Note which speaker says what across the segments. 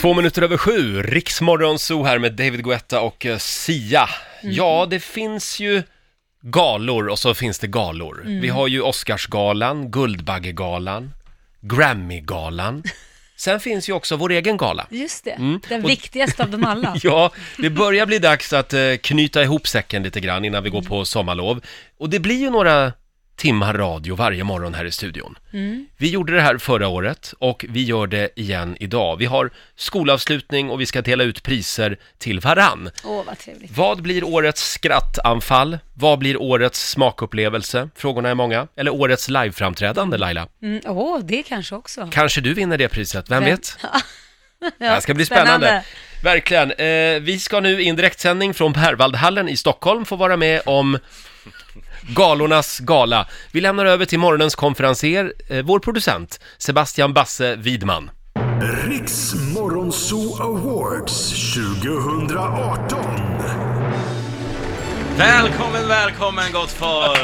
Speaker 1: Två minuter över sju, Riksmorgon Zoo här med David Guetta och eh, Sia. Ja, det finns ju galor och så finns det galor. Vi har ju Oscarsgalan, Guldbaggegalan, Grammygalan. Sen finns ju också vår egen gala.
Speaker 2: Just det, den
Speaker 1: Mm. Och-
Speaker 2: viktigaste av dem alla.
Speaker 1: Ja, det börjar bli dags att eh, knyta ihop säcken lite grann innan vi går på sommarlov. Och det blir ju några timmar radio varje morgon här i studion.
Speaker 2: Mm.
Speaker 1: Vi gjorde det här förra året och vi gör det igen idag. Vi har skolavslutning och vi ska dela ut priser till varann.
Speaker 2: Åh, vad trevligt.
Speaker 1: Vad blir årets skrattanfall? Vad blir årets smakupplevelse? Frågorna är många. Eller årets liveframträdande, Laila.
Speaker 2: Mm, åh, det kanske också.
Speaker 1: Kanske du vinner det priset, vem
Speaker 2: Vem-
Speaker 1: vet? Det här ska bli spännande. Verkligen. Eh, vi ska nu i en direktsändning från Berwaldhallen i Stockholm få vara med om galornas gala. Vi lämnar över till morgonens konferenser, eh, vår producent Sebastian Basse Widman.
Speaker 3: Riks Morgonzoo Awards 2018.
Speaker 4: Välkommen, välkommen gott folk!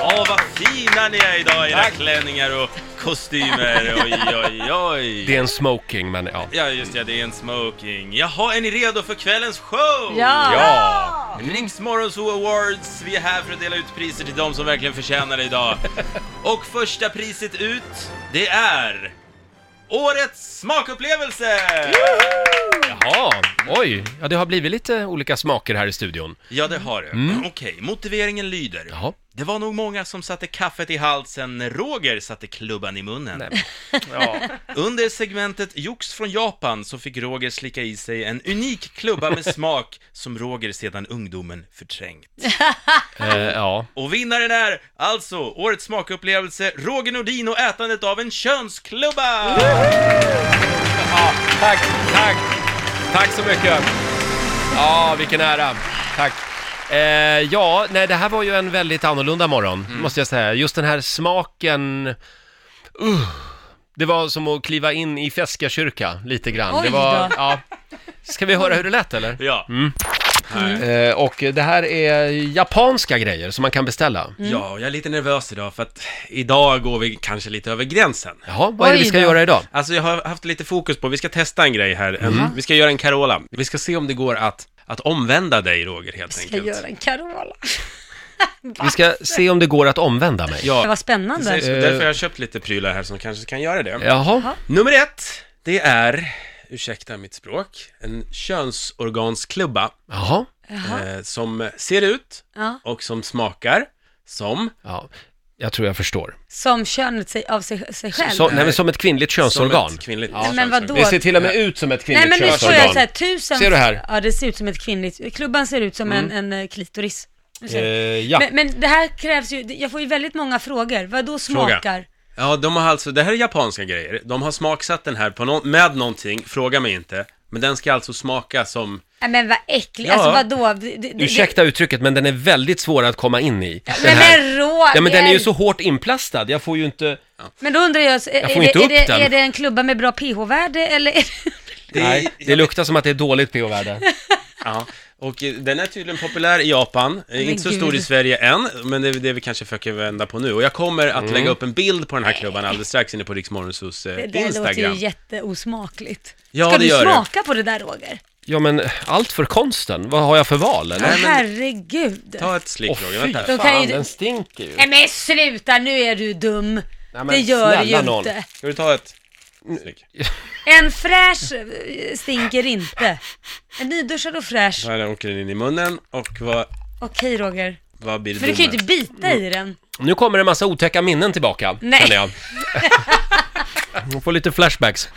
Speaker 4: Åh, vad fina ni är idag i era klänningar och kostymer. Oj, oj, oj.
Speaker 1: Det är en smoking, men ja.
Speaker 4: Ja, just det, det är en smoking. Jaha, är ni redo för kvällens show?
Speaker 2: Ja.
Speaker 1: Ja!
Speaker 4: Riks Morgonzoo Awards. Vi är här för att dela ut priser till de som verkligen förtjänar det idag. Och första priset ut, det är Årets smakupplevelse!
Speaker 1: Jaha, oj. Ja, det har blivit lite olika smaker här i studion.
Speaker 4: Ja, det har du. Okej, motiveringen lyder.
Speaker 1: Jaha.
Speaker 4: Det var nog många som satte kaffet i halsen när Roger satte klubban i munnen. Ja. Under segmentet Jox från Japan så fick Roger slicka i sig en unik klubba med smak som Roger sedan ungdomen förträngt.
Speaker 1: Eh, ja.
Speaker 4: Och vinnaren är alltså årets smakupplevelse Roger Nordin och ätandet av en könsklubba!
Speaker 1: Tack, tack. Tack så mycket. Ja, vilken ära. Tack. Eh, ja, nej, det här var ju en väldigt annorlunda morgon, måste jag säga. Just den här smaken... Uh, det var som att kliva in i Feskakyrka, lite grann.
Speaker 2: Oj
Speaker 1: det var,
Speaker 2: då.
Speaker 1: Ja. Ska vi höra hur det lät, eller?
Speaker 4: Ja.
Speaker 1: Eh, och det här är japanska grejer som man kan beställa.
Speaker 4: ja, jag är lite nervös idag för att idag går vi kanske lite över gränsen.
Speaker 1: Jaha, vad är det
Speaker 2: Oj
Speaker 1: vi ska
Speaker 2: då.
Speaker 1: göra idag?
Speaker 4: Alltså jag har haft lite fokus på, vi ska testa en grej här. En,
Speaker 2: Mm.
Speaker 4: Vi ska göra en Carola. Vi ska se om det går att, att omvända dig Roger helt
Speaker 2: Ska jag
Speaker 4: enkelt.
Speaker 2: göra en Carola?
Speaker 1: Vi ska se om det går att omvända mig.
Speaker 2: Det var
Speaker 4: Ja,
Speaker 2: spännande.
Speaker 4: så det är så- därför har jag köpt lite prylar här som kanske kan göra det.
Speaker 1: Jaha,
Speaker 4: Nummer ett, det är, ursäkta mitt språk, en könsorgansklubba
Speaker 1: jaha.
Speaker 4: eh, som ser ut
Speaker 2: Ja.
Speaker 4: och som smakar som
Speaker 1: Ja, jag tror jag förstår.
Speaker 2: Som könet sig, av sig, sig själv.
Speaker 1: Så, nej, men som ett kvinnligt könsorgan.
Speaker 4: Som ett kvinnligt
Speaker 2: men vadå?
Speaker 4: könsorgan.
Speaker 1: Det ser till och med ut som ett
Speaker 2: Nej
Speaker 1: kvinnligt
Speaker 2: men nu står
Speaker 1: könsorgan.
Speaker 2: jag så här, tusen...
Speaker 1: Ser du här? Mm.
Speaker 2: Ja, det ser ut som ett kvinnligt... Klubban ser ut som en, en eh, klitoris. Nu ser jag.
Speaker 1: Eh, ja.
Speaker 2: men, men det här krävs ju... Jag får ju väldigt många frågor. Vad då smakar?
Speaker 4: Fråga. Ja, de har alltså, det här är japanska grejer. De har smaksatt den här på nå- med någonting, fråga mig inte. Men den ska alltså smaka som
Speaker 2: Nej men vad äckligt.
Speaker 4: Ja.
Speaker 2: Alltså vadå? Det, det, det-
Speaker 1: Ursäkta uttrycket, men den är väldigt svår att komma in i. Den
Speaker 2: Men,
Speaker 1: här-
Speaker 2: men Roger!
Speaker 1: Ja, men den är ju så hårt inplastad. Jag får ju inte...
Speaker 2: Men då undrar jag, är,
Speaker 1: får
Speaker 2: det,
Speaker 1: inte upp
Speaker 2: är, det,
Speaker 1: den.
Speaker 2: är det en klubba med bra pH-värde eller? Är det...
Speaker 1: Nej, det luktar som att det är dåligt pH-värde.
Speaker 4: Ja, och eh, den är tydligen populär i Japan, Eh, inte så
Speaker 2: gud.
Speaker 4: stor i Sverige än, men det är det vi kanske försöker vända på nu. Och jag kommer att
Speaker 1: Mm.
Speaker 4: lägga upp en bild på den här klubban alldeles strax inne på Rix Morgonzoos, eh,
Speaker 2: Det där låter
Speaker 4: Instagram.
Speaker 2: ju jätteosmakligt.
Speaker 4: Ja,
Speaker 2: Ska
Speaker 4: det
Speaker 2: du
Speaker 4: gör det.
Speaker 2: smaka på det där Roger?
Speaker 1: Ja, men allt för konsten. Vad har jag för val, eller?
Speaker 4: Nej, men-
Speaker 2: Herregud.
Speaker 4: Ta ett slick
Speaker 1: Åh,
Speaker 4: Roger,
Speaker 1: fy
Speaker 4: vänta.
Speaker 2: Då
Speaker 1: fan,
Speaker 2: kan ju-
Speaker 1: den stinker ju.
Speaker 2: Nej men sluta, nu är du dum.
Speaker 1: men
Speaker 2: det gör du ju
Speaker 1: snälla nån.
Speaker 2: inte.
Speaker 4: Ska du ta ett
Speaker 1: Mm.
Speaker 4: slick?
Speaker 2: En fräsch eh, stinker inte. En nyduschad och fräsch.
Speaker 4: Så här åker den in i munnen och vad,
Speaker 2: Okej Roger.
Speaker 4: vad blir det
Speaker 2: För du kan ju
Speaker 4: domen?
Speaker 2: inte bita i den.
Speaker 1: Nu kommer en massa otäcka minnen tillbaka,
Speaker 2: Nej.
Speaker 1: känner Mm. jag. Jag får lite flashbacks.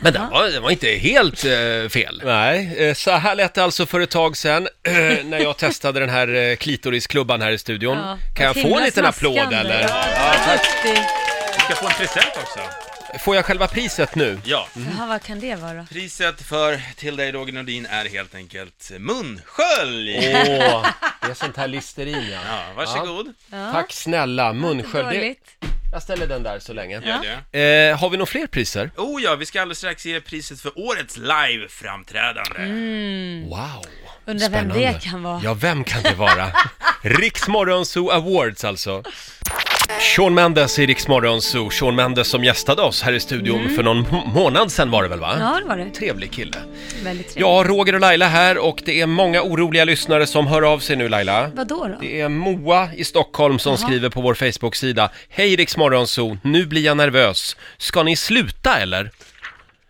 Speaker 1: Men det var, det var inte helt eh, fel. Nej, eh, så här lät det alltså för ett tag sedan eh, när jag testade den här eh, klitorisklubban här i studion.
Speaker 2: Ja.
Speaker 1: kan jag
Speaker 2: Ett
Speaker 1: få
Speaker 2: himla
Speaker 1: en liten
Speaker 2: smaskande.
Speaker 1: applåd eller? Mm.
Speaker 2: Ja, tack.
Speaker 4: Du ska få en present också.
Speaker 1: Får jag själva priset nu?
Speaker 4: Ja.
Speaker 2: Jaha, vad kan det vara?
Speaker 4: Priset för till dig Roger Nordin är helt enkelt munskölj!
Speaker 1: Åh, det är sånt här listerin ja.
Speaker 4: Ja, varsågod.
Speaker 1: Tack snälla, munskölj. Det-
Speaker 2: Dåligt.
Speaker 1: Jag ställer den där så länge.
Speaker 4: Gör det.
Speaker 1: Eh, har vi några fler priser?
Speaker 4: Oh ja, vi ska alldeles strax ge priset för årets live-framträdande.
Speaker 1: Mm. Wow!
Speaker 2: Undrar vem det kan vara.
Speaker 1: Ja, vem kan det vara? Riksmorgonzoo Awards alltså. Sean Mendes i Rix Morgon Zoo. Sean Mendes som gästade oss här i studion för någon må- månad sedan var det väl va?
Speaker 5: Ja, det var det.
Speaker 1: Trevlig kille.
Speaker 5: Väldigt trevligt.
Speaker 1: Ja, Roger och Laila här och det är många oroliga lyssnare som hör av sig nu Laila.
Speaker 5: Vadå då?
Speaker 1: Det är Moa i Stockholm som skriver på vår Facebook-sida. Hej Rix Morgon Zoo, nu blir jag nervös. Ska ni sluta eller?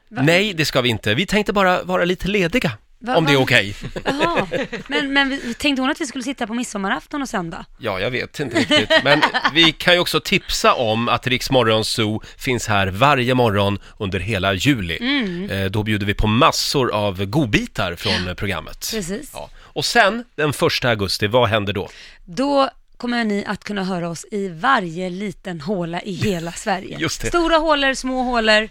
Speaker 1: Nej, det ska vi inte. Vi tänkte bara vara lite lediga.
Speaker 5: Va-
Speaker 1: om det är
Speaker 5: va?
Speaker 1: okej.
Speaker 5: Jaha. Men, men vi- tänkte hon att vi skulle sitta på midsommarafton och sända?
Speaker 1: Ja, jag vet inte riktigt. Men vi kan ju också tipsa om att Rix Morgon Zoo finns här varje morgon under hela juli. Eh, Då bjuder vi på massor av godbitar från eh, programmet.
Speaker 5: Precis.
Speaker 1: Ja. Och sen, den första augusti, vad händer då?
Speaker 5: Då kommer ni att kunna höra oss i varje liten håla i hela Sverige.
Speaker 1: Just det.
Speaker 5: Stora hålor, små hålor,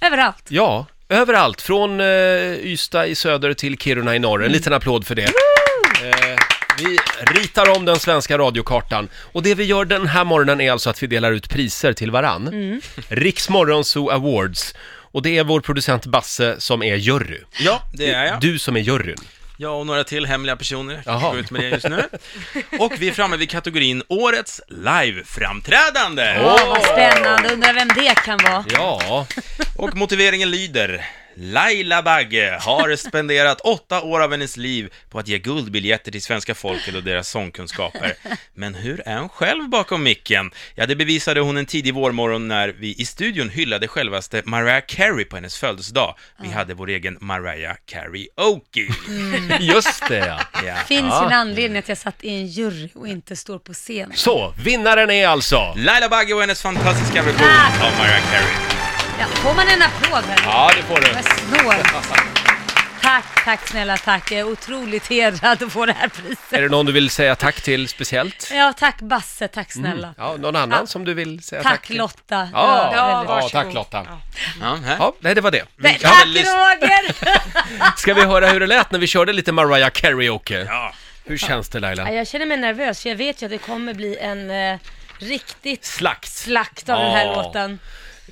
Speaker 5: överallt.
Speaker 1: Ja, överallt. Från eh, Ystad i söder till Kiruna i norr. En liten applåd för det. Eh, vi ritar om den svenska radiokartan. Och det vi gör den här morgonen är alltså att vi delar ut priser till varann. Mm. Riks Morgonzoo Awards. Och det är vår producent Basse som är jury.
Speaker 4: Ja, det är jag.
Speaker 1: Du som är juryn.
Speaker 4: Jag och några till hemliga personer. Jag
Speaker 1: Jaha.
Speaker 4: går ut med det just nu. Och vi är framme vid kategorin Årets liveframträdande.
Speaker 5: Åh, vad spännande. Undrar vem det kan vara.
Speaker 1: Ja,
Speaker 4: Och motiveringen lyder Laila Bagge har spenderat åtta år av hennes liv på att ge guldbiljetter till svenska folket och deras sångkunskaper. Men hur är hon själv bakom micken? Ja, det bevisade hon en tidig vårmorgon när vi i studion hyllade självaste Mariah Carey på hennes födelsedag. Vi hade vår egen Mariah Karaoke.
Speaker 1: just det ja.
Speaker 4: Ja.
Speaker 5: Finns ju en anledning att jag satt i en jury och inte står på scen.
Speaker 1: Så, vinnaren är alltså...
Speaker 4: Laila Bagge och hennes fantastiska version av Mariah Carey.
Speaker 5: Ja, får man en applåd här?
Speaker 1: Ja, det får du.
Speaker 5: Vad snålt. Tack, tack snälla tack. Jag är otroligt hedrad att få det här priset.
Speaker 1: Är det någon du vill säga tack till speciellt?
Speaker 5: Ja, tack Basse, tack snälla.
Speaker 1: Mm. Ja, någon annan som du vill säga tack,
Speaker 5: Tack
Speaker 1: till?
Speaker 5: Lotta.
Speaker 1: Ja,
Speaker 5: Det var väldigt-
Speaker 1: ja, tack Lotta.
Speaker 4: Ja, här.
Speaker 1: Ja, nej, det var det.
Speaker 5: Nej,
Speaker 4: kan väl
Speaker 5: Tack
Speaker 4: lyssna-
Speaker 5: Roger!
Speaker 1: Ska vi höra hur det lät när vi körde lite Mariah Karaoke?
Speaker 4: Ja.
Speaker 1: Hur känns det Laila?
Speaker 6: Ja, Jag känner mig nervös för jag vet ju att det kommer bli en eh, riktigt
Speaker 1: Slakt!
Speaker 6: slakt av den här
Speaker 1: Ja.
Speaker 6: låten.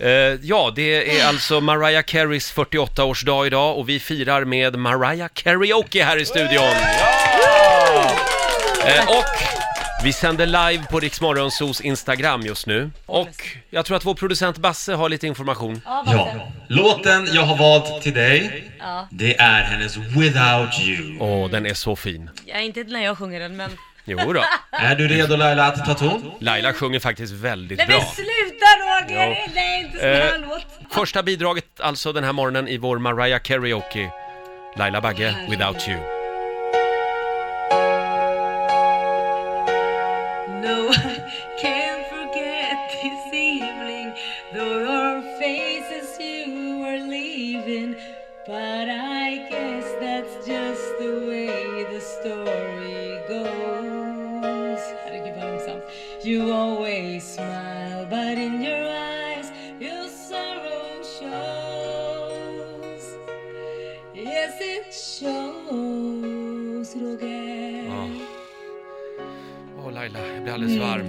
Speaker 1: Eh, ja, det är alltså Mariah Careys 48-årsdag idag och vi firar med Mariah Karaoke här i studion. Eh, och vi sänder live på Riksmorgonsos Instagram just nu. Och jag tror att vår producent Basse har lite information.
Speaker 7: Ja, låten jag har valt till dig, det är hennes Without You.
Speaker 1: Åh, den är så fin.
Speaker 6: Ja, inte när jag sjunger den men...
Speaker 1: Jo då.
Speaker 7: Är du redo Laila att ta ton?
Speaker 1: Laila sjunger faktiskt väldigt
Speaker 6: Nej men
Speaker 1: bra.
Speaker 6: sluta Roger!
Speaker 1: Ja.
Speaker 6: Nej inte sån här
Speaker 1: Eh.
Speaker 6: låt.
Speaker 1: Första bidraget alltså den här morgonen i vår Mariah Karaoke. Laila Bagge, Without You.
Speaker 2: No, I can't forget this evening, though your faces you were leaving. But I guess that's just the way the story goes. Herregud, vad långsamt. You always smile, but in your eyes your sorrow shows. Yes, it shows, Roger.
Speaker 1: Åh Laila, jag blir alldeles varm.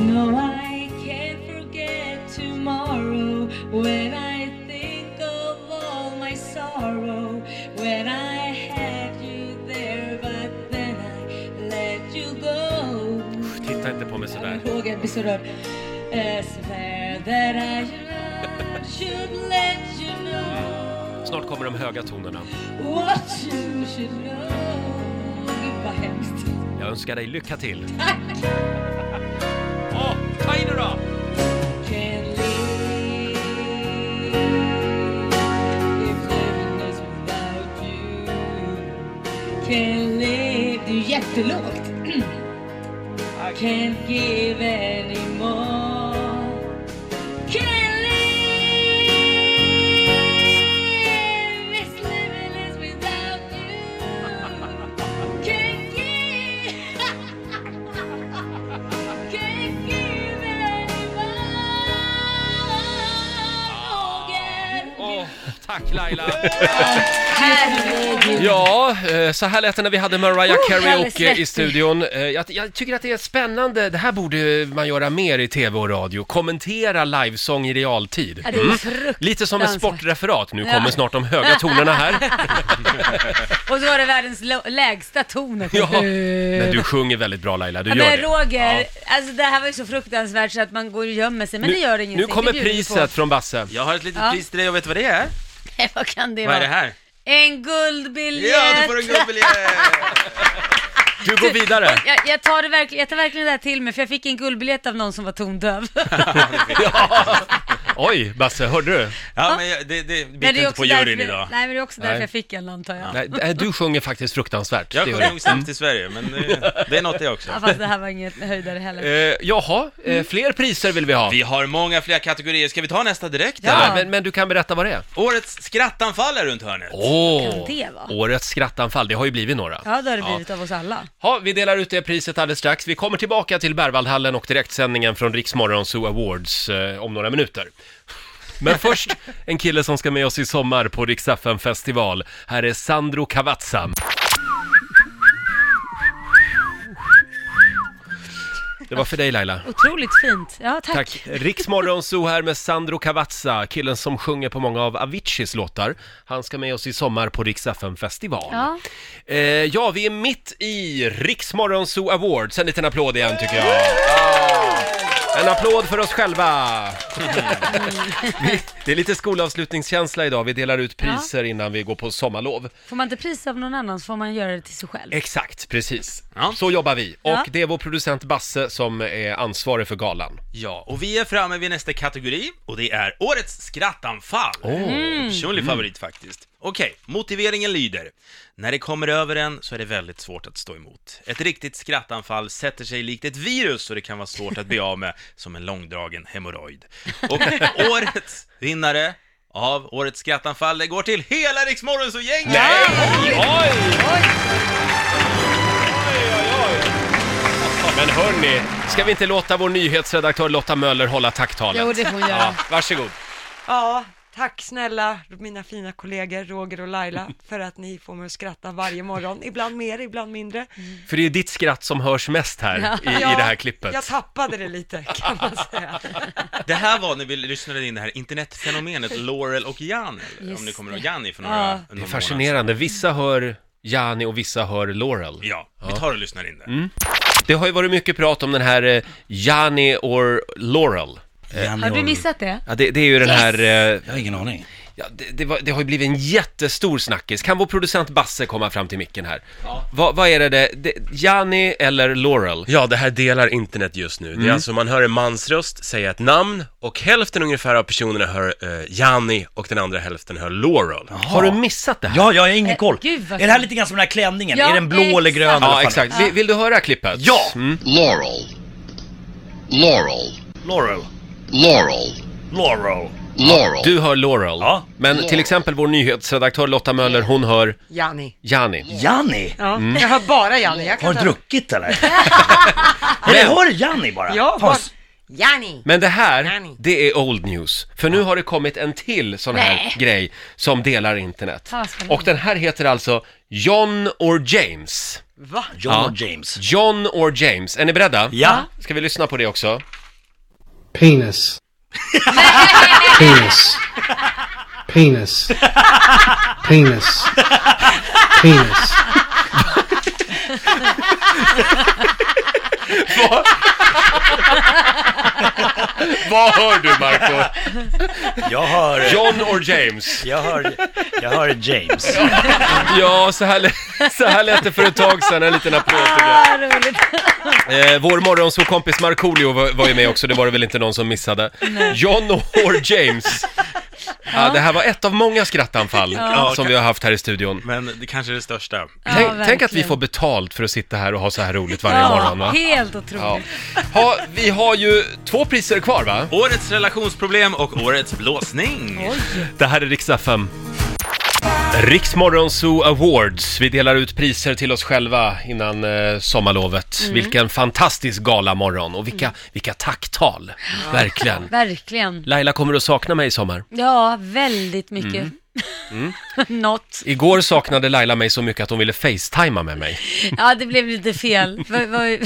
Speaker 2: No, I can't forget tomorrow when I think of all my sorrow. When I had you there, but then I let you go.
Speaker 1: Titta inte på mig sådär.
Speaker 2: Roger blir så rörd. I swear that I should let you know
Speaker 1: Snart kommer de höga tonerna.
Speaker 2: what you should know. Gud vad hemskt.
Speaker 1: Jag önskar dig lycka till.
Speaker 2: Tack!
Speaker 1: Åh, ta i nu då!
Speaker 2: Can't live if living is without you. Can't live. Det är ju jättelågt. I can't give anymore. Can't live if living is without you. Can't give. Can't give anymore. Forget.
Speaker 1: Åh, Tack Laila!
Speaker 2: Herregud.
Speaker 1: Ja, eh, så här lät det när vi hade Mariah
Speaker 2: Oh, alldeles
Speaker 1: Karaoke
Speaker 2: rätt.
Speaker 1: i studion. Eh, Jag, jag tycker att det är spännande. Det här borde man göra mer i tv och radio. Kommentera livesång i realtid.
Speaker 2: Ja, det är
Speaker 1: Mm.
Speaker 2: fruktansvärt.
Speaker 1: Lite som ett sportreferat. Nu
Speaker 2: Ja.
Speaker 1: kommer snart de höga tonerna här.
Speaker 2: Och så var det världens lo- lägsta ton också.
Speaker 1: Ja. Men du sjunger väldigt bra Laila, du
Speaker 2: Ja,
Speaker 1: gör det.
Speaker 2: men Roger,
Speaker 1: Ja.
Speaker 2: alltså det här var ju så fruktansvärt så att man går och gömmer sig, men
Speaker 1: Nu,
Speaker 2: det gör
Speaker 1: nu
Speaker 2: ingenting.
Speaker 1: kommer
Speaker 2: det bjuder vi
Speaker 1: priset från Basse.
Speaker 4: Jag har ett litet
Speaker 2: Ja.
Speaker 4: pris till dig och vet du vad det är?
Speaker 2: på. Nej, Vad kan det
Speaker 4: Vad är
Speaker 2: vara?
Speaker 4: det här?
Speaker 2: En guldbiljett!
Speaker 4: Ja, du får en guldbiljett!
Speaker 1: Du går vidare.
Speaker 2: Jag, jag, tar det verkligen, jag tar verkligen det här till mig, för jag fick en guldbiljett av någon som var tondöv.
Speaker 1: Ja. Oj, Basse, hörde du?
Speaker 4: Ja, men jag- det, det
Speaker 2: Men
Speaker 4: biter
Speaker 2: det är
Speaker 4: inte
Speaker 2: också
Speaker 4: på juryn
Speaker 2: därför-
Speaker 4: idag.
Speaker 2: Nej, men det är också därför
Speaker 1: Nej.
Speaker 2: jag fick en, antar jag. Ja.
Speaker 1: Nej, d- du sjunger faktiskt fruktansvärt.
Speaker 4: Jag
Speaker 1: det gör
Speaker 4: sjunger
Speaker 1: du.
Speaker 4: nog sämst i Sverige, men det, det är något det också.
Speaker 2: fast det här var inget höjdare heller.
Speaker 1: Eh, jaha,
Speaker 2: Mm.
Speaker 1: eh, fler priser vill vi ha.
Speaker 4: Vi har många fler kategorier, ska vi ta nästa direkt?
Speaker 2: Ja.
Speaker 1: Nej, men, men du kan berätta vad det är.
Speaker 4: Årets skrattanfall är runt hörnet.
Speaker 1: Åh,
Speaker 2: Kan det vara?
Speaker 1: årets skrattanfall, det har ju blivit några.
Speaker 2: Ja, det har det blivit av oss alla.
Speaker 1: Ha, vi delar ut det priset alldeles strax. Vi kommer tillbaka till Berwaldhallen och direktsändningen från Riksmorgon Zoo Awards eh, om några minuter. Men först, en kille som ska med oss i sommar på Rix FM festival. Här är Sandro Cavazza. Det var för dig Laila.
Speaker 2: Otroligt fint. Ja, tack.
Speaker 1: Tack. Riksmorgon Zoo här med Sandro Cavazza, killen som sjunger på många av Aviciis låtar. Han ska med oss i sommar på Rix FM festival.
Speaker 2: Ja.
Speaker 1: Eh, ja, vi är mitt i Riksmorgon Zoo Awards. En liten applåd igen tycker jag. En applåd för oss själva! Vi- Det är lite skolavslutningskänsla idag, vi delar ut priser innan vi går på sommarlov.
Speaker 2: Får man inte pris av någon annan så får man göra det till sig själv.
Speaker 1: Exakt, precis.
Speaker 4: Ja.
Speaker 1: Så jobbar vi. Och
Speaker 2: Ja.
Speaker 1: det är vår producent Basse som är ansvarig för galan.
Speaker 4: Ja, och vi är framme vid nästa kategori och det är Årets skrattanfall. Mm. Personlig
Speaker 1: Mm.
Speaker 4: favorit faktiskt. Okej, motiveringen lyder. När det kommer över en så är det väldigt svårt att stå emot. Ett riktigt skrattanfall sätter sig likt ett virus och det kan vara svårt att bli av med som en långdragen hemorrojd. Och årets vinnare av Årets skrattanfall det går till hela Rix och gänget
Speaker 1: Oj! Oj! Men hörni, ska vi inte låta vår nyhetsredaktör Lotta Möller hålla tacktalet?
Speaker 2: Jo, det får hon
Speaker 1: Ja,
Speaker 2: göra.
Speaker 1: varsågod.
Speaker 8: Ja, tack snälla mina fina kollegor Roger och Laila för att ni får mig att skratta varje morgon. Ibland mer, ibland mindre.
Speaker 1: För det är ditt skratt som hörs mest här i, i det här klippet.
Speaker 8: Jag tappade det lite kan man säga.
Speaker 4: Det här var när vi lyssnade in det här internetfenomenet Laurel och Jan, om ni kommer ihåg Janni för några
Speaker 2: Ja.
Speaker 4: någon
Speaker 1: Det är
Speaker 4: månad sedan.
Speaker 1: fascinerande. Vissa hör Jani och vissa hör Laurel.
Speaker 4: Ja, vi tar och lyssnar in det.
Speaker 1: Det har ju varit mycket prat om den här eh, Jani or Laurel.
Speaker 2: Har du missat det?
Speaker 1: Ja, det, det är ju den här... eh,
Speaker 9: Jag har ingen aning.
Speaker 1: Ja, det, det, var, det har ju blivit en jättestor snackis. Kan vår producent Basse komma fram till micken här? Vad vad är det, det, det Jani eller Laurel?
Speaker 10: Ja, det här delar internet just nu.
Speaker 4: Mm.
Speaker 10: Det är alltså, man hör en mans röst säga ett namn och hälften ungefär av personerna hör eh, Janni och den andra hälften hör Laurel.
Speaker 1: Har du missat det här?
Speaker 9: Ja, jag har ingen
Speaker 2: Eh,
Speaker 9: koll.
Speaker 2: gud, vad
Speaker 9: är det här lite grann som den här klänningen?
Speaker 2: Ja,
Speaker 9: är den blå eller grön?
Speaker 2: exakt.
Speaker 9: eller vad
Speaker 1: Ja,
Speaker 9: fan?
Speaker 1: exakt. Vill, vill du höra klippet?
Speaker 9: Ja!
Speaker 1: Mm.
Speaker 11: Laurel. Laurel.
Speaker 9: Laurel.
Speaker 11: Laurel.
Speaker 9: Laurel.
Speaker 11: Laurel.
Speaker 1: Du hör Laurel.
Speaker 9: Ja.
Speaker 1: Men till exempel vår nyhetsredaktör Lotta Möller, hon hör
Speaker 8: Janni.
Speaker 9: Mm.
Speaker 1: Jani.
Speaker 9: Janni?
Speaker 8: Ja,
Speaker 1: Mm.
Speaker 8: jag hör bara Janni. Jag
Speaker 9: Har
Speaker 8: kan
Speaker 9: du
Speaker 8: ta-
Speaker 9: druckit eller? Eller hör du Janni bara?
Speaker 8: Ja,
Speaker 9: Fan,
Speaker 8: bara-
Speaker 9: s-
Speaker 8: Janni.
Speaker 1: Men det här,
Speaker 8: Jani.
Speaker 1: det är old news. För nu har det kommit en till sån här grej som delar internet.
Speaker 2: Ja, spännande.
Speaker 1: Och den här heter alltså John or James.
Speaker 8: Va?
Speaker 9: John
Speaker 1: Ja.
Speaker 9: och James.
Speaker 1: John or James. Är ni beredda?
Speaker 9: Ja.
Speaker 1: Ska vi lyssna på det också?
Speaker 11: Penis. Penis. Penis. Penis. Penis.
Speaker 1: Vad hör du Marco?
Speaker 9: Jag hör...
Speaker 1: John or James?
Speaker 9: Jag hör... Jag hör James.
Speaker 1: Ja, så här, lä- så här lät det för ett tag sedan. En liten applåd till det.
Speaker 2: Vad roligt.
Speaker 1: Eh, vår morgonsåkompis Markoolio var, var ju med också, det var det väl inte någon som missade. John or James. Ja, det här var ett av många skrattanfall som vi har haft här i studion.
Speaker 4: Men det kanske är det största.
Speaker 1: tänk, tänk att vi
Speaker 2: verkligen.
Speaker 1: får betalt för att sitta här och ha så här roligt varje
Speaker 2: ja,
Speaker 1: morgon va?
Speaker 2: Helt otroligt.
Speaker 1: Ja. Ha, vi har ju två priser kvar va?
Speaker 4: Årets relationsproblem och årets blåsning.
Speaker 1: Det här är Rix FM. Riksmorgon Zoo Awards. Vi delar ut priser till oss själva innan eh, sommarlovet.
Speaker 2: Mm.
Speaker 1: Vilken fantastisk galamorgon och vilka, vilka tacktal. Verkligen.
Speaker 2: Verkligen.
Speaker 1: Laila kommer att sakna mig i sommar.
Speaker 2: Ja, väldigt mycket.
Speaker 1: Mm. Mm.
Speaker 2: Något.
Speaker 1: Igår saknade Laila mig så mycket att hon ville facetima med mig.
Speaker 2: Ja, det blev lite fel. Va- va-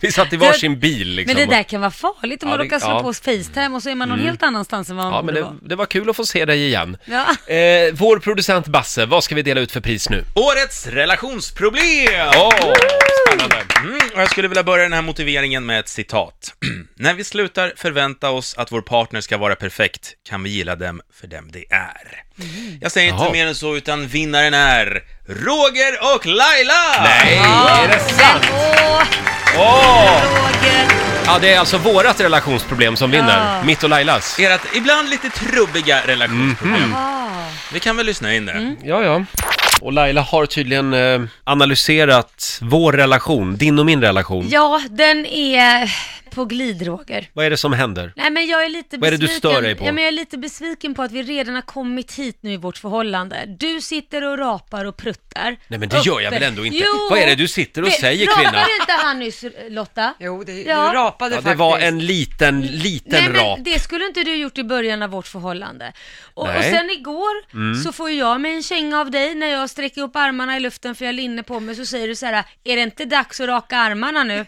Speaker 1: Vi satt i varsin bil liksom.
Speaker 2: Men det där kan vara farligt om
Speaker 1: Ja,
Speaker 2: man
Speaker 1: det-
Speaker 2: råkar slå
Speaker 1: ja.
Speaker 2: på Facetime och så är man någon
Speaker 1: Mm.
Speaker 2: helt annanstans än vad man
Speaker 1: Ja, men
Speaker 2: borde
Speaker 1: det,
Speaker 2: vara.
Speaker 1: det var kul att få se dig igen.
Speaker 2: Ja.
Speaker 1: Eh, vår producent Basse, vad ska vi dela ut för pris nu?
Speaker 4: Årets relationsproblem! spännande. Mm, och jag skulle vilja börja den här motiveringen med ett citat. När vi slutar förvänta oss att vår partner ska vara perfekt kan vi gilla dem för dem de är. Jag säger inte
Speaker 1: Jaha.
Speaker 4: mer än så, utan vinnaren är Roger och Laila!
Speaker 1: Nej, är det sant? Åh! Ja, det är alltså vårat relationsproblem som vinner.
Speaker 4: Ja.
Speaker 1: Mitt och Lailas.
Speaker 4: Ert ibland lite trubbiga relationsproblem.
Speaker 1: Ah.
Speaker 4: Vi kan väl lyssna in det.
Speaker 1: Ja, ja. Och Laila har tydligen eh, analyserat vår relation, din och min relation.
Speaker 12: Ja, den är på glid, Roger.
Speaker 1: Vad är det som händer?
Speaker 12: Nej men jag är lite
Speaker 1: Vad är det du
Speaker 12: besviken.
Speaker 1: stör dig på?
Speaker 12: Ja, men jag är lite besviken på att vi redan har kommit hit nu i vårt förhållande. Du sitter och rapar och pruttar.
Speaker 1: Nej, men det gör jag
Speaker 12: Uppe.
Speaker 1: väl ändå inte.
Speaker 12: Jo.
Speaker 1: Vad är det du sitter och
Speaker 12: Det-
Speaker 1: säger, kvinna?
Speaker 12: Rapade inte han nyss Lotta? Jo, det,
Speaker 8: du rapade
Speaker 1: Ja, det var en liten, liten
Speaker 12: Nej,
Speaker 1: rap.
Speaker 12: men det skulle inte du gjort i början av vårt förhållande. Och, och
Speaker 1: Nej.
Speaker 12: sen igår
Speaker 1: Mm.
Speaker 12: så får ju jag mig en känga av dig när jag sträcker upp armarna i luften för jag har linne på mig så säger du så här: är det inte dags att raka armarna nu?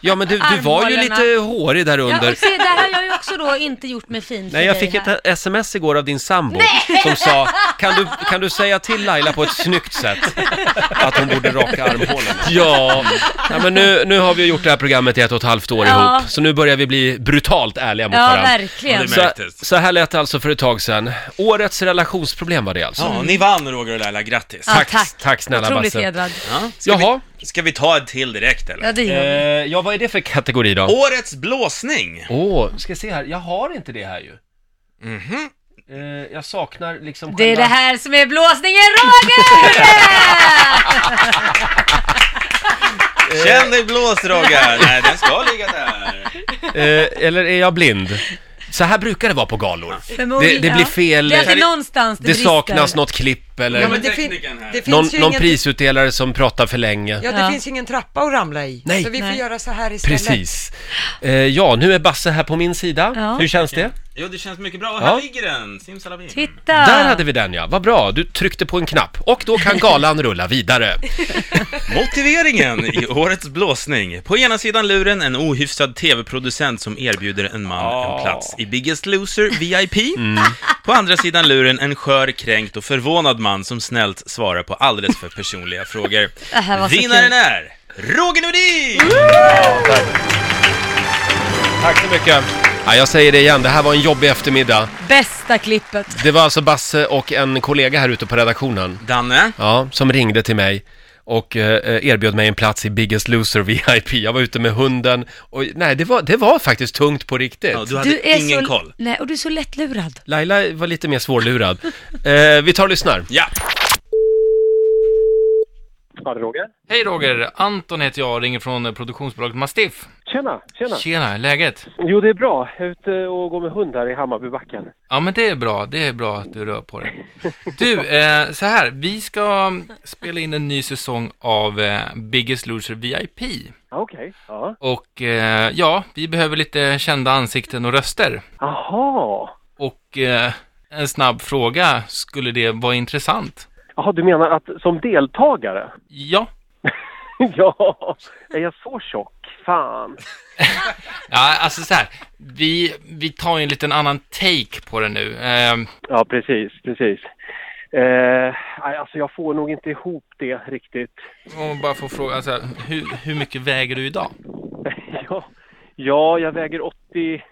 Speaker 1: Ja, men du, du var ju
Speaker 12: Armhålorna.
Speaker 1: lite hårig där
Speaker 12: Ja,
Speaker 1: under.
Speaker 12: och se, där har jag ju också då inte gjort mig fin för
Speaker 1: Nej, jag
Speaker 12: dig
Speaker 1: fick
Speaker 12: här.
Speaker 1: ett sms igår av din sambo
Speaker 12: Nej!
Speaker 1: som sa, kan du, kan du säga till Laila på ett snyggt sätt att hon borde raka armhålan? Ja, Nej, men nu, nu har vi gjort det här programmet i ett och ett halvt år
Speaker 2: Ja.
Speaker 1: ihop, så nu börjar vi bli brutalt ärliga mot
Speaker 2: Ja,
Speaker 1: varandra.
Speaker 2: verkligen. Ja, det
Speaker 1: så, så här lät det alltså för ett tag sedan. Årets relationsproblem var det alltså.
Speaker 4: Ja, ni vann Roger och Laila, grattis!
Speaker 1: Ja, Tack, tack. tack snälla, Otroligt Basse. hedrad.
Speaker 4: Ska, Jaha. Vi, ska vi ta en till direkt eller?
Speaker 1: Ja, det gör
Speaker 4: Eh,
Speaker 1: vi. Eh, ja, vad är det för kategori då?
Speaker 4: Årets blåsning!
Speaker 1: Åh, ska se här, jag har inte det här ju. Mhm. jag saknar liksom
Speaker 2: Det är det
Speaker 1: själva-
Speaker 2: här som är blåsningen, Roger!
Speaker 4: Känn dig blåst Roger! Nej, den ska ligga där!
Speaker 1: Eh, eller är jag blind? Så här brukar det vara på galor. Det,
Speaker 2: Förmodligen,
Speaker 1: det blir
Speaker 2: ja.
Speaker 1: fel.
Speaker 2: Det är alltid någonstans det
Speaker 1: det
Speaker 2: brister.
Speaker 1: saknas något klipp eller
Speaker 8: Ja, men det fin- det finns
Speaker 1: någon,
Speaker 8: ju
Speaker 1: någon
Speaker 8: ingen-
Speaker 1: prisutdelare som pratar för länge.
Speaker 8: Ja, det finns ju ingen trappa att ramla i.
Speaker 1: Nej.
Speaker 8: Så vi får
Speaker 1: Nej.
Speaker 8: göra så här istället.
Speaker 1: Precis. Eh, ja, nu är Basse här på min sida.
Speaker 8: Ja.
Speaker 1: Hur känns det?
Speaker 4: Jo, det känns mycket bra.
Speaker 1: Ja.
Speaker 4: Här ligger den! Simsalabim!
Speaker 2: Titta!
Speaker 1: Där hade vi den ja, vad bra. Du tryckte på en knapp och då kan galan rulla vidare.
Speaker 4: Motiveringen i årets blåsning. På ena sidan luren en ohyfsad tv-producent som erbjuder en man en plats i Biggest Loser VIP. På andra sidan luren en skör, kränkt och förvånad man som snällt svarar på alldeles för personliga frågor.
Speaker 2: Det här var så
Speaker 4: Vinnaren
Speaker 2: kul. Mm.
Speaker 4: är Roger Nordin!
Speaker 1: Tack så mycket. Ja, jag säger det igen, det här var en jobbig eftermiddag.
Speaker 2: Bästa klippet.
Speaker 1: Det var alltså Basse och en kollega här ute på redaktionen.
Speaker 4: Danne?
Speaker 1: Ja, som ringde till mig och eh, erbjöd mig en plats i Biggest Loser VIP. Jag var ute med hunden och nej, det var, det var faktiskt tungt på riktigt.
Speaker 4: du hade Du är ingen så- koll.
Speaker 12: Nej, och du är så lättlurad.
Speaker 1: Laila var lite mer svårlurad. Eh, vi tar och lyssnar.
Speaker 4: Ja.
Speaker 13: Ja, det är Roger.
Speaker 14: Hej Roger, Anton heter jag ringer från produktionsbolaget Mastiff.
Speaker 13: Tjena, tjena.
Speaker 14: Tjena, läget?
Speaker 13: Jo, det är bra. Jag är ute och går med hund här i Hammarbybacken.
Speaker 14: Ja men det är bra, det är bra att du rör på dig. Du, eh, så här, vi ska spela in en ny säsong av eh, Biggest Loser VIP.
Speaker 13: Ja, Ah, Okej. Ja.
Speaker 14: Och eh, ja, vi behöver lite kända ansikten och röster.
Speaker 13: Jaha.
Speaker 14: Och eh, en snabb fråga, skulle det vara intressant?
Speaker 13: Jaha, du menar att som deltagare?
Speaker 14: Ja.
Speaker 13: ja. Är jag så tjock? Fan.
Speaker 14: Ja, alltså så här, vi, vi tar ju en liten annan take på det nu. Ehm,
Speaker 13: Ja, precis, precis. Eh, nej, alltså jag får nog inte ihop det riktigt.
Speaker 14: Om man bara får fråga, så här, hur, hur mycket väger du idag?
Speaker 13: ja. ja, jag väger 80...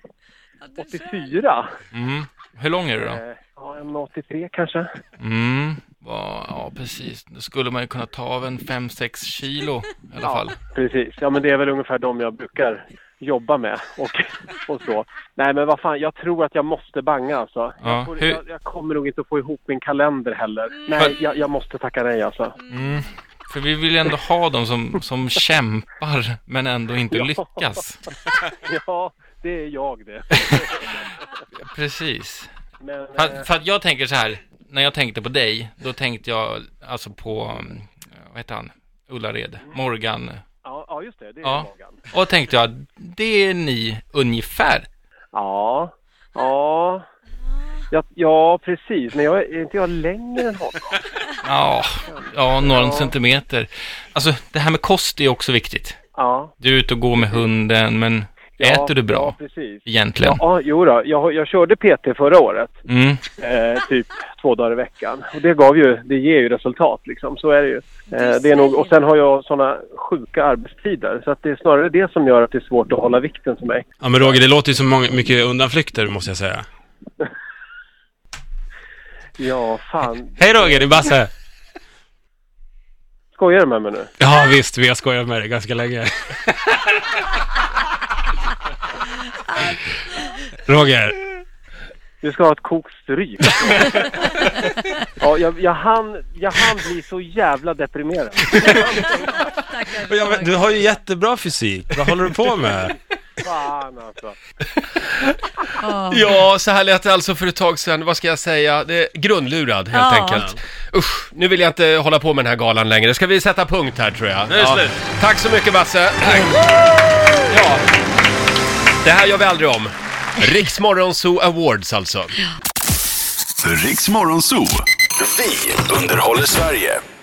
Speaker 13: 84.
Speaker 14: Mm. Hur lång är du då?
Speaker 13: Eh, ja, en 83 kanske.
Speaker 14: Mm. Ja, ja, precis. Då skulle man ju kunna ta av en 5-6 kilo i alla fall.
Speaker 13: Precis, ja men det är väl ungefär de jag brukar jobba med och, och så. Nej men vad fan, jag tror att jag måste banga alltså.
Speaker 14: Ja,
Speaker 13: jag, får,
Speaker 14: hur-
Speaker 13: jag, jag kommer nog inte få ihop min kalender heller. Nej, jag, jag måste tacka nej alltså.
Speaker 14: Mm. För vi vill ju ändå ha dem som, som kämpar, men ändå inte
Speaker 13: Ja.
Speaker 14: lyckas.
Speaker 13: ja, det är jag det.
Speaker 14: Precis.
Speaker 13: Men, eh,
Speaker 2: eh,
Speaker 14: För, för att jag tänker så här, när jag tänkte på dig, då tänkte jag alltså på, mm, vad heter han, Ullared, Morgan.
Speaker 2: Ja, ja just det. Det Mm. är
Speaker 14: Ja,
Speaker 2: Morgan.
Speaker 14: och tänkte jag, det är ni ungefär.
Speaker 2: Ja, ja. Ja, ja, precis. Men jag, är inte jag längre än honom?
Speaker 14: Ja, ja några
Speaker 2: Ja.
Speaker 14: centimeter. Alltså, det här med kost är också viktigt.
Speaker 2: Ja.
Speaker 14: Du är ute och går med hunden, men
Speaker 2: Ja,
Speaker 14: äter du bra?
Speaker 2: Ja, precis.
Speaker 14: Egentligen.
Speaker 2: Ja, jo då. Jag, jag körde PT förra året,
Speaker 14: Mm.
Speaker 2: eh, typ två dagar i veckan. Och det, gav ju, det ger ju resultat, liksom. så är det ju. Eh, det är nog, och sen har jag såna sjuka arbetstider, så att det är snarare det som gör att det är svårt att hålla vikten för mig.
Speaker 4: Ja, men Roger, det låter ju som många, mycket undanflykter, måste jag säga.
Speaker 2: Ja, fan.
Speaker 4: Hej Roger, det är Basse.
Speaker 2: Skojar du med mig nu?
Speaker 4: Ja, visst, vi har skojat med dig ganska länge. Roger.
Speaker 2: Du ska ha ett kokt stryk. ja, jag, jag, hann, jag hann bli så jävla deprimerad.
Speaker 4: Och jag vet- Du har ju jättebra fysik. Vad håller du på med?
Speaker 2: Fan alltså.
Speaker 1: Ja, så här lät det alltså för ett tag sedan. Vad ska jag säga? Det är grundlurad helt
Speaker 4: Ja.
Speaker 1: enkelt. Usch, nu vill jag inte hålla på med den här galan längre. Ska vi sätta punkt här tror jag?
Speaker 4: Nu är det slut.
Speaker 1: Tack så mycket Basse. Ja. Det här gör vi aldrig om. Riksmorgonzoo Awards alltså.
Speaker 3: Riks Morgonzoo. Vi underhåller Sverige.